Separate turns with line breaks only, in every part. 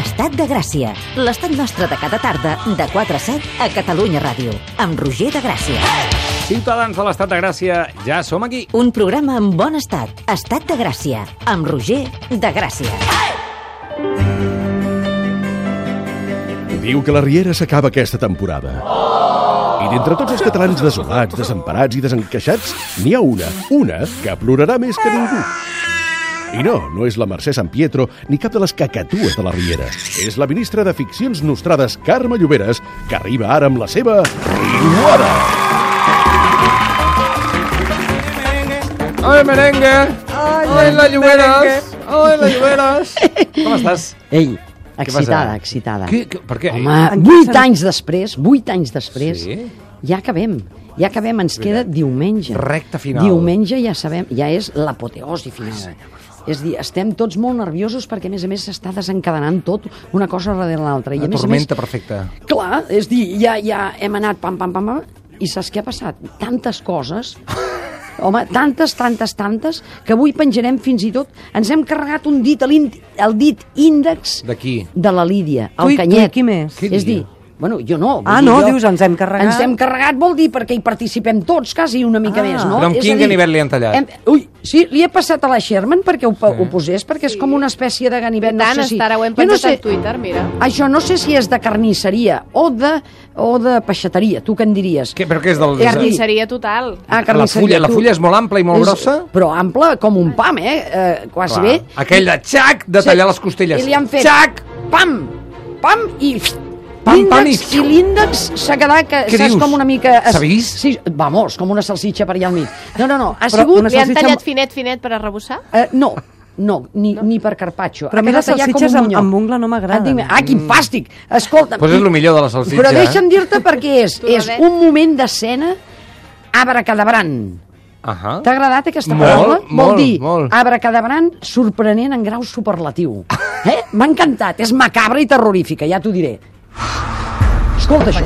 Ciutat de Gràcia, l'estat nostre de cada tarda de 4 a 7 a Catalunya Ràdio, amb Roger de Gràcia.
Ciutadans de l'Estat de Gràcia, ja som aquí.
Un programa en bon estat, Estat de Gràcia, amb Roger de Gràcia.
Diu que la Riera s'acaba aquesta temporada. I d'entre tots els catalans desolats, desemparats i desencaixats, n'hi ha una, una, que plorarà més que ningú. I no, no és la Mercè San Pietro ni cap de les cacatues de la Riera. És la ministra de Ficcions Nostrades, Carme Lloberes, que arriba ara amb la seva... Riuada!
Oi, merengue! Oi, la Lloberes! Oi, la Lloberes! Com estàs?
Ei,
passa?
excitada, excitada.
Què, què, per què?
Home, vuit anys després, vuit anys després,
Sí?
ja acabem. Ja acabem, ens queda diumenge.
Recta final.
Diumenge ja sabem, ja és l'apoteosi final. és a dir, estem tots molt nerviosos perquè, a més a més, s'està desencadenant tot una cosa darrere l'altra. I,
Una
a més a més,
tormenta perfecta.
clar, és a dir, ja, ja hem anat pam, pam, pam, pam, i saps què ha passat? Tantes coses... Home, tantes, tantes, tantes, que avui penjarem fins i tot... Ens hem carregat un dit, a l'ín- el dit índex
De qui?
de la Lídia,
Tu
el
i- tu i
canyet.
qui més?
Què
és dir,
diu?
bueno, jo no. vull
Ah,
dir,
no,
jo,
dius, ens hem carregat.
Ens hem carregat, vol dir, perquè hi participem tots, quasi una mica
Ah.
més, no?
Però amb
És a
quin
dir,
ganivet li han tallat?
Hem, ui, sí, li he passat a la Sherman perquè ho, sí. ho posés, perquè és com una espècie de ganivet,
Tant,
no sé si...
Estara, ho hem
Jo
pensat
no sé,
en Twitter, mira.
Això no sé si és de carnisseria o de, o de peixateria, tu què en diries?
Què, però què és del...
Eh,
de-
Arnís,
Carnisseria total.
Ah,
la, fulla, la
tu-
fulla és molt ampla i molt grossa?
Però ampla com un pam, eh? eh quasi
Clar.
bé.
Aquell de xac, de tallar les costelles.
I li han fet...
Xac!
Pam! Pam i...
Pam, pam i-
l'índex, i... l'índex s'ha quedat que,
Què
saps,
dius?
com una mica...
S'ha vist?
Sí, vamos, com una salsitxa per allà al mig. No, no, no, ha
Però
sigut...
una
Li han
salsitxa
tallat
amb-
finet, finet per arrebossar?
Eh, no, no, ni, no. ni per carpaccio.
Però a
Ha
mi les
quedat allà com
salsitxes
un
amb-
bunyol.
amb ungla no m'agraden.
Et dic- Ah, quin fàstic! Escolta...
Pues és lo millor de la salsitxa,
Però
eh?
deixa'm dir-te perquè és, és
Tornadet.
un moment d'escena abracadabrant.
Ahà.
T'ha agradat aquesta
Molt,
paraula?
molt,
Vol dir
molt.
abracadabrant sorprenent en grau superlatiu. Eh? M'ha encantat, és macabra i terrorífica, ja t'ho diré. Escolta això.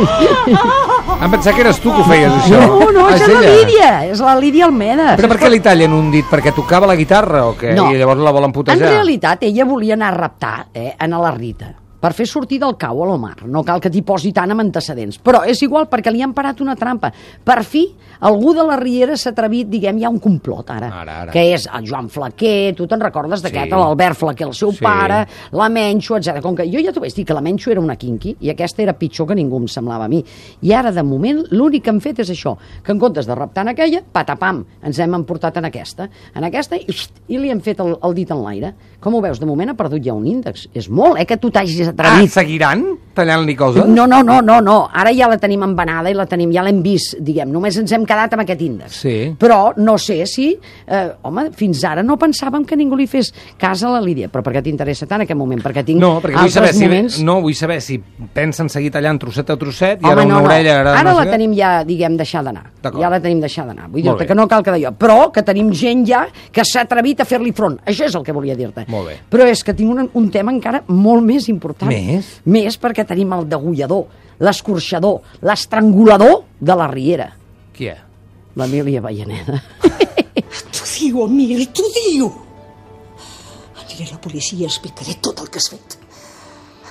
Em pensat que eres tu que ho feies, això.
No, no,
Ah,
és la
ella.
Lídia, és la Lídia Almeda.
Però per què li tallen un dit? Perquè tocava la guitarra o què?
No.
I llavors la volen
En
putejar?
realitat, ella volia anar a raptar eh, en la Rita per fer sortir del cau a l'Omar. No cal que t'hi posi tant amb antecedents. Però és igual, perquè li han parat una trampa. Per fi, algú de la Riera s'ha atrevit, diguem, hi ha un complot ara,
Ara, ara.
que és el Joan Flaquer, tu te'n recordes d'aquest,
Sí.
l'Albert Flaquer, el seu
Sí.
pare, la Menxo, etc. Com que jo ja t'ho vaig dir, que la Menxo era una quinqui i aquesta era pitjor que ningú em semblava a mi. I ara, de moment, l'únic que han fet és això, que en comptes de raptar en aquella, patapam, ens hem emportat en aquesta, en aquesta, i, xt, i li hem fet el, el dit en l'aire. Com ho veus? De moment ha perdut ja un índex. És molt, eh, que tu
Ah,
t'hagis atrevit.
seguiran tallant-li coses?
No, no, no, no, no. Ara ja la tenim embanada i la tenim, ja l'hem vist, diguem. Només ens hem quedat amb aquest índex.
Sí.
Però no sé si... Eh, home, fins ara no pensàvem que ningú li fes cas a la Lídia. Però per què t'interessa tant aquest moment? Perquè tinc
No, perquè vull
altres
saber, si,
moments...
no, vull saber si pensen seguir tallant trosset a trosset i
Home,
ara una
no, no.
orella... Ara,
ara
no
la
sé què.
tenim ja, diguem, deixar d'anar.
D'acord.
Ja la tenim deixar d'anar. Vull
Molt
dir-te
bé.
que no cal que d'allò. Però que tenim gent ja que s'ha atrevit a fer-li front. Això és el que volia dir-te.
Molt bé.
Però és que tinc un, un tema encara molt més important.
Més?
Més perquè tenim el degullador, l'escorxador, l'estrangulador de la Riera.
Qui és?
L'Emília Vallaneda.
T'ho diu, Emili, t'ho diu! Aniré a la policia i explicaré tot el que has fet.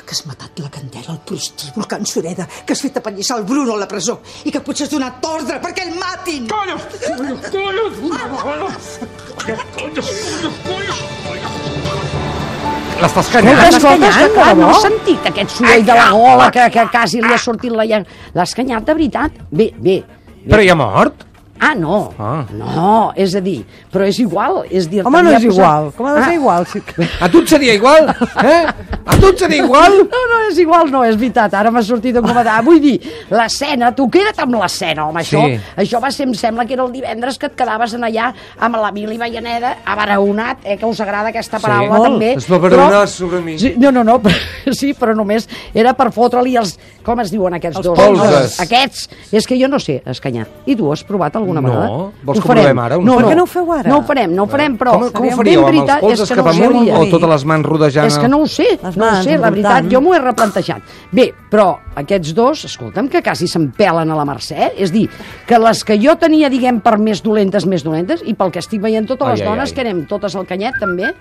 Que has matat la Candela, el prostíbul, que en Sureda, que has fet apallissar el Bruno a la presó i que potser has donat ordre perquè el matin! Coño!
L'estàs
Eh,
callant?
Escolta,
canyant,
escolta, escolta,
de
no
debò?
has sentit aquest soroll de la gola que, que quasi li ha sortit la llang. L'has canyat de veritat? Bé, bé. bé.
Però ja ha mort?
Ah, no.
Ah.
No, és a dir, però és igual. És dir,
Home, no
li ha
és
posat-
igual. Com ha de ser
Ah,
igual? Si...
A tu et seria igual? Eh? A tu et seria igual?
No, no, és igual, no, és veritat. Ara m'ha sortit un comentari. Ah, Vull dir, l'escena, tu queda't amb l'escena, home, això.
Sí.
Això va ser, em sembla, que era el divendres que et quedaves en allà amb la Mili Vallaneda, abaraonat, eh, que us agrada aquesta
Sí.
paraula,
Molt.
també.
Es va abaronar sobre mi.
Sí, no, no, no, però, sí, però només era per fotre-li els Com es diuen aquests
Els
dos?
polzes.
Aquests. És que jo no sé escanyar. I tu has provat alguna
No.
vegada?
Vols
Ho
que ho
farem.
provem ara? Ho
No,
farem.
no.
Per què
no ho feu ara?
No ho farem, no ho farem, però...
com, com ho
ben
faríeu? Amb els
veritat és
polzes
que
cap
no ho
amunt
sabria.
o totes les mans rodejant?
És que no ho sé,
Les
no ho
mans
sé, la veritat,
voltant.
jo m'ho he replantejat. Bé, però aquests dos, escolta'm, que quasi se'n pelen a la Mercè, eh? és dir, que les que jo tenia, diguem, per més dolentes, més dolentes, i pel que estic veient totes
Ai,
les
ai,
dones,
ai.
que anem totes al canyet, també,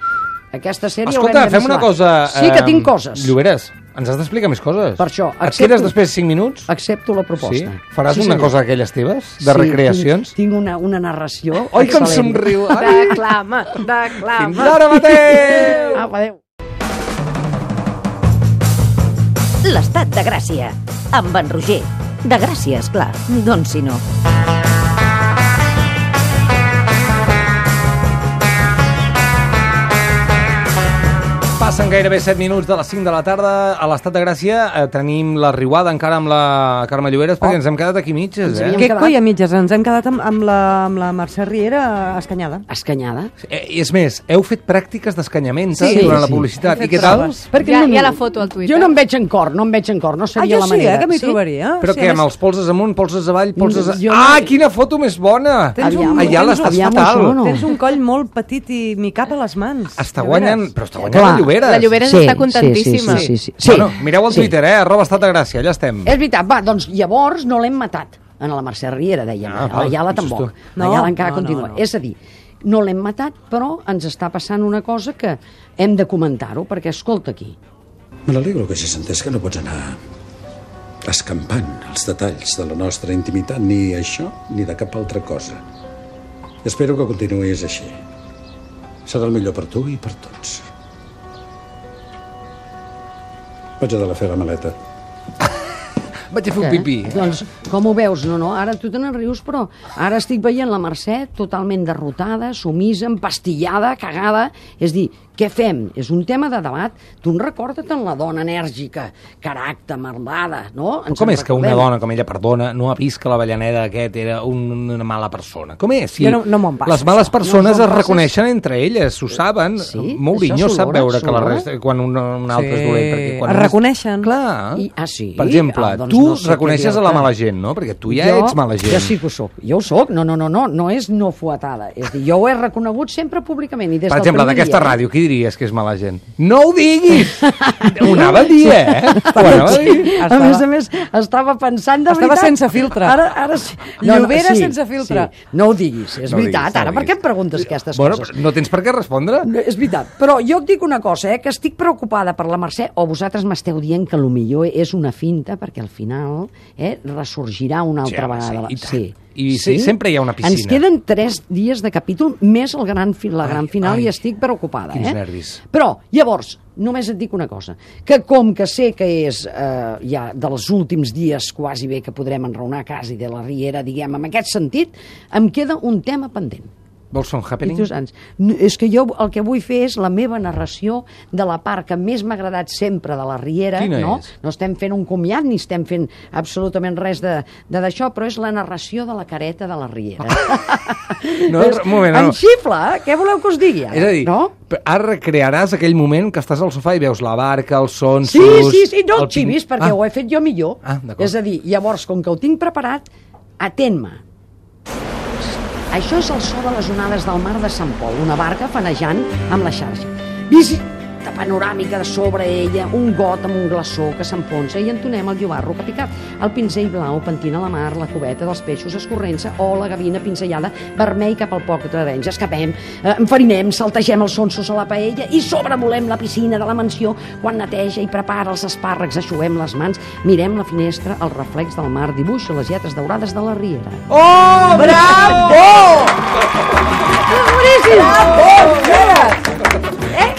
aquesta sèrie
Escolta,
haurem de
fem una
vigilar.
cosa...
Sí que
eh,
tinc coses,
Lloberes, ens has d'explicar més coses.
Per això,
Et
accepto-
quedes després 5 minuts?
accepto la proposta.
Sí? Faràs una
senyor.
cosa d'aquelles teves? De
Sí,
recreacions?
Tinc, tinc una, una narració
Oi, com
excel·lent.
somriu! Ai,
Declama,
Fins
declama.
ara mateix!
Apa, adéu.
L'estat de Gràcia. Amb en Roger. De Gràcia, esclar. Doncs si no.
Passen gairebé 7 minuts de les 5 de la tarda. A l'estat de Gràcia eh, tenim la riuada encara amb la Carme Lloberes perquè ens hem quedat aquí mitges, eh?
havíem-
Què
quedat-
coi a mitges? Ens hem quedat amb, amb, la, amb la Mercè Riera escanyada.
Escanyada.
eh? És més, heu fet pràctiques d'escanyament
Sí,
sí, durant
sí.
la publicitat.
Hem
I
fet
què tal?
proves.
Perquè
Ja-
no, no,
ja la
no.
foto al Twitter.
Jo no em veig en cor, no em veig en cor, no
Ah,
seria
jo
la
sí,
manera.
eh, que m'hi trobaria.
Però
sí,
què,
a
amb
més-
els polses amunt, polses avall, polses... A...
Jo no-
Ah, quina foto més bona!
Tens un-
Allà
tens
l'estàs
un-
fatal.
aviam, això no.
Tens un coll molt petit i m'hi cap a les mans.
Està
de
guanyant...
veres.
Però està guanyant
Clar.
la Lloberes.
La Lloberes
Sí,
està contentíssima.
Sí, sí, sí. sí, sí.
Bueno, mireu el
sí.
Twitter, eh? Arroba estat de Gràcia, allà estem.
És veritat, va, doncs llavors no l'hem matat. En la Mercè Riera, dèiem.
Ah,
Ah,
val,
la Yala
penses
tampoc.
tu.
La
No,
Yala encara
no, no,
continua.
no.
És a dir, no l'hem matat, però ens està passant una cosa que hem de comentar-ho, perquè escolta aquí.
Me n'alegro que hagis entès que no pots anar escampant els detalls de la nostra intimitat, ni això ni de cap altra cosa. Espero que continuïs així. Serà el millor per tu i per tots. Vaig a de la fer la maleta.
Vaig a fer un
Eh?
pipí.
Doncs, com ho veus? No, no, ara tu te n'en rius, però ara estic veient la Mercè totalment derrotada, sumisa, empastillada, cagada. És dir, què fem? És un tema de debat. Tu en recorda't en la dona enèrgica, caràcter, marmada, no? Ens
Com
en
és que una
recordem?
dona com ella, perdona, no ha vist que la Vallaneda aquest era un, una mala persona? Com és?
Jo no- no m'ho empasso,
Les males
això.
persones
No
es
us ho empasses?
reconeixen entre elles, s'ho saben.
Sí?
Mourinho
Això
sap
s'olora,
veure que la
s'olora?
resta, quan un, un altre
Sí,
és dolent. Perquè quan
es
un és-
reconeixen.
Clar.
I- ah, sí?
Per exemple,
Ah, doncs
tu
no sé què
reconeixes a la
dir-te.
mala gent, no? Perquè tu ja ets mala gent.
Jo sí que ho soc. Jo ho soc. No, no, no, no. No és no fuetada. És a dir, jo ho he reconegut sempre públicament. I des
Per
del
exemple,
primer
d'aquesta
dia.
ràdio, qui diries que és mala gent? No ho diguis! ho anava a dir, eh? Ho anava a dir.
A
Estava-
més a més, estava pensant de
Estava
veritat.
sense filtre.
Ara, ara sí.
Llobera sense filtre.
Sí. No ho diguis, és
No ho diguis,
no veritat.
no
Diguis,
ho
ara, per
diguis.
què em preguntes aquestes
Bueno,
coses?
però no tens per què respondre.
No, és veritat, però jo et dic una cosa, eh, que estic preocupada per la Mercè, o vosaltres m'esteu dient que lo millor és una finta, perquè al final eh, ressorgirà una
Sí,
altra
home,
vegada.
sí, i
la-
tant. I sí, sempre hi ha una piscina.
Ens queden tres dies de capítol, més el gran, fi- la
Ai,
gran final,
ai,
i estic preocupada.
quins
eh?
nervis.
Però, llavors, només et dic una cosa, que com que sé que és eh, ja dels últims dies quasi bé que podrem enraonar quasi de la Riera, diguem, en aquest sentit, em queda un tema pendent.
Vols un
I
happening?
tu saps, no, és que jo el que vull fer és la meva narració de la part que més m'ha agradat sempre de la Riera.
Quina
no?
és?
no estem fent un comiat ni estem fent absolutament res de de d'això, però és la narració de la careta de la Riera.
Ah, No,
És-
un moment, no.
Doncs En xifla, eh? què voleu que us digui ara?
Ah, És a dir,
no?
pe- ara recrearàs aquell moment que estàs al sofà i veus la barca, els sons...
Sí, sí, sí, no
el
el xivis,
pin-
perquè
Ah,
ho he fet jo millor.
Ah, d'acord.
és a dir, llavors, com que ho tinc preparat, atén-me. Això és el so de les onades del mar de Sant Pol, una barca fanejant amb la xarxa. Visita panoràmica de sobre ella, un got amb un glaçó que s'enfonsa i entonem el llobarro que ha picat. El pinzell blau pentina la mar, la cubeta dels peixos escorrent-se o la gavina pinzellada vermell cap al poc d'orenys. Escapem, eh, enfarinem, saltegem els sonsos a la paella i sobrevolem la piscina de la mansió quan neteja i prepara els espàrrecs, aixuguem les mans, mirem la finestra, el reflex del mar dibuixa les lletres daurades de la riera.
Oh, bravo!
Boníssim!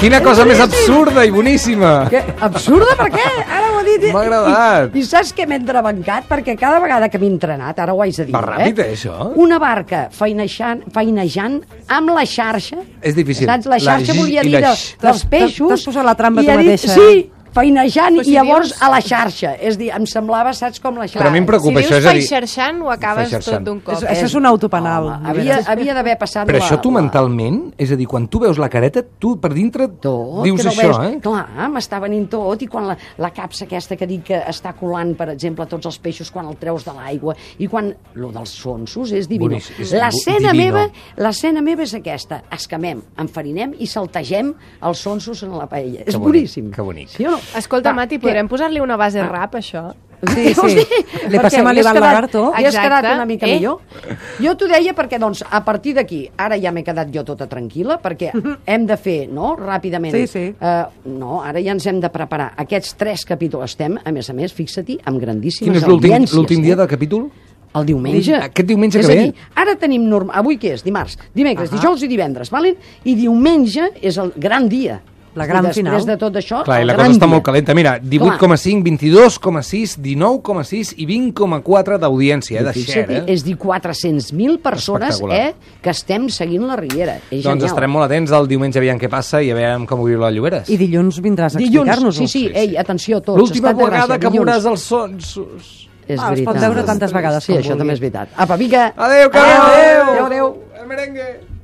Quina cosa més absurda i boníssima!
Que absurda, per què? Ara ho he dit. i-
M'ha agradat.
I, i saps que m'he entrebancat? Perquè cada vegada que m'he entrenat, ara ho haig de dir.
Va ràpid,
eh?
eh, això?
Una barca feinejant, feinejant amb la xarxa.
És difícil.
Saps? La
La
xarxa
gi-
volia
i
dir
la
de,
x-
dels
T'has-
peixos.
t'has posat la trampa
i
tu
ha dit-
mateixa, eh?
Sí, feinejant
Però si
i llavors
dius-
a la xarxa. És a dir, em semblava, saps com la xarxa?
Però a mi em
Si
preocupa
dius
això, és a dir...
faixarxant, ho acabes
faixarxant.
tot d'un
És,
cop.
això és un autopenal.
Home, havia havia d'haver passat
Però
la...
això tu
la-
mentalment, és a dir, quan tu veus la careta, tu per dintre
tot,
dius
que no
això,
veus...
eh?
Clar, m'està venint tot, i quan la, la capsa aquesta que dic que està colant, per exemple, tots els peixos quan el treus de l'aigua, i quan... Lo dels sonsos és divino.
Bonic, és
L'escena
bu- divino.
meva, l'escena meva és aquesta. Escamem, enfarinem i saltegem els sonsos en la paella. És
bonic,
boníssim.
que bonic.
Sí o no?
eh? Escolta,
Va, Ah.
Mati,
què?
podrem posar-li una base rap, això?
Sí,
Vols
sí.
dir?
Li
Per
passem
què?
a
Li has
l'Ivan
quedat-
Lagarto.
Li has
Exacte.
quedat una mica
Eh?
millor? Jo t'ho deia perquè, doncs, a partir d'aquí, ara ja m'he quedat jo tota tranquil·la, perquè hem de fer, no?, ràpidament.
Sí, sí.
Eh, no, ara ja ens hem de preparar. Aquests tres capítols estem, a més a més, fixa-t'hi, amb grandíssimes
Quin és l'últim
audiències.
l'últim dia
eh?
del capítol?
El diumenge.
Aquest diumenge
és
que
a
ve?
Dir, ara tenim norm... Avui què és? Dimarts. Dimecres, dijous i divendres, valen? I diumenge és el gran dia.
La gran
I després
final.
de tot això,
Clar, i
el
la
gran
cosa està
dia.
molt calenta. Mira, 18,5, 22,6, 19,6 i 20,4 d'audiència, eh, de
Fixa't,
share, eh?
és dir, 400.000 persones
Espectacular.
eh, que estem seguint la Riera. És
Doncs
genial.
estarem molt atents al diumenge aviam què passa i a veure com ho viu la Lloberes.
I dilluns vindràs a
Dilluns,
explicar-nos-ho.
sí, sí, ei, atenció a tots.
L'última
estat de gràcia,
vegada que
dilluns.
veuràs els sonsos.
És
Ah, es pot
veritat.
veure tantes vegades
Sí,
com
això
vulgui.
també és veritat. Apa, vinga!
Adéu, Carol!
Adéu, adéu!
El merengue!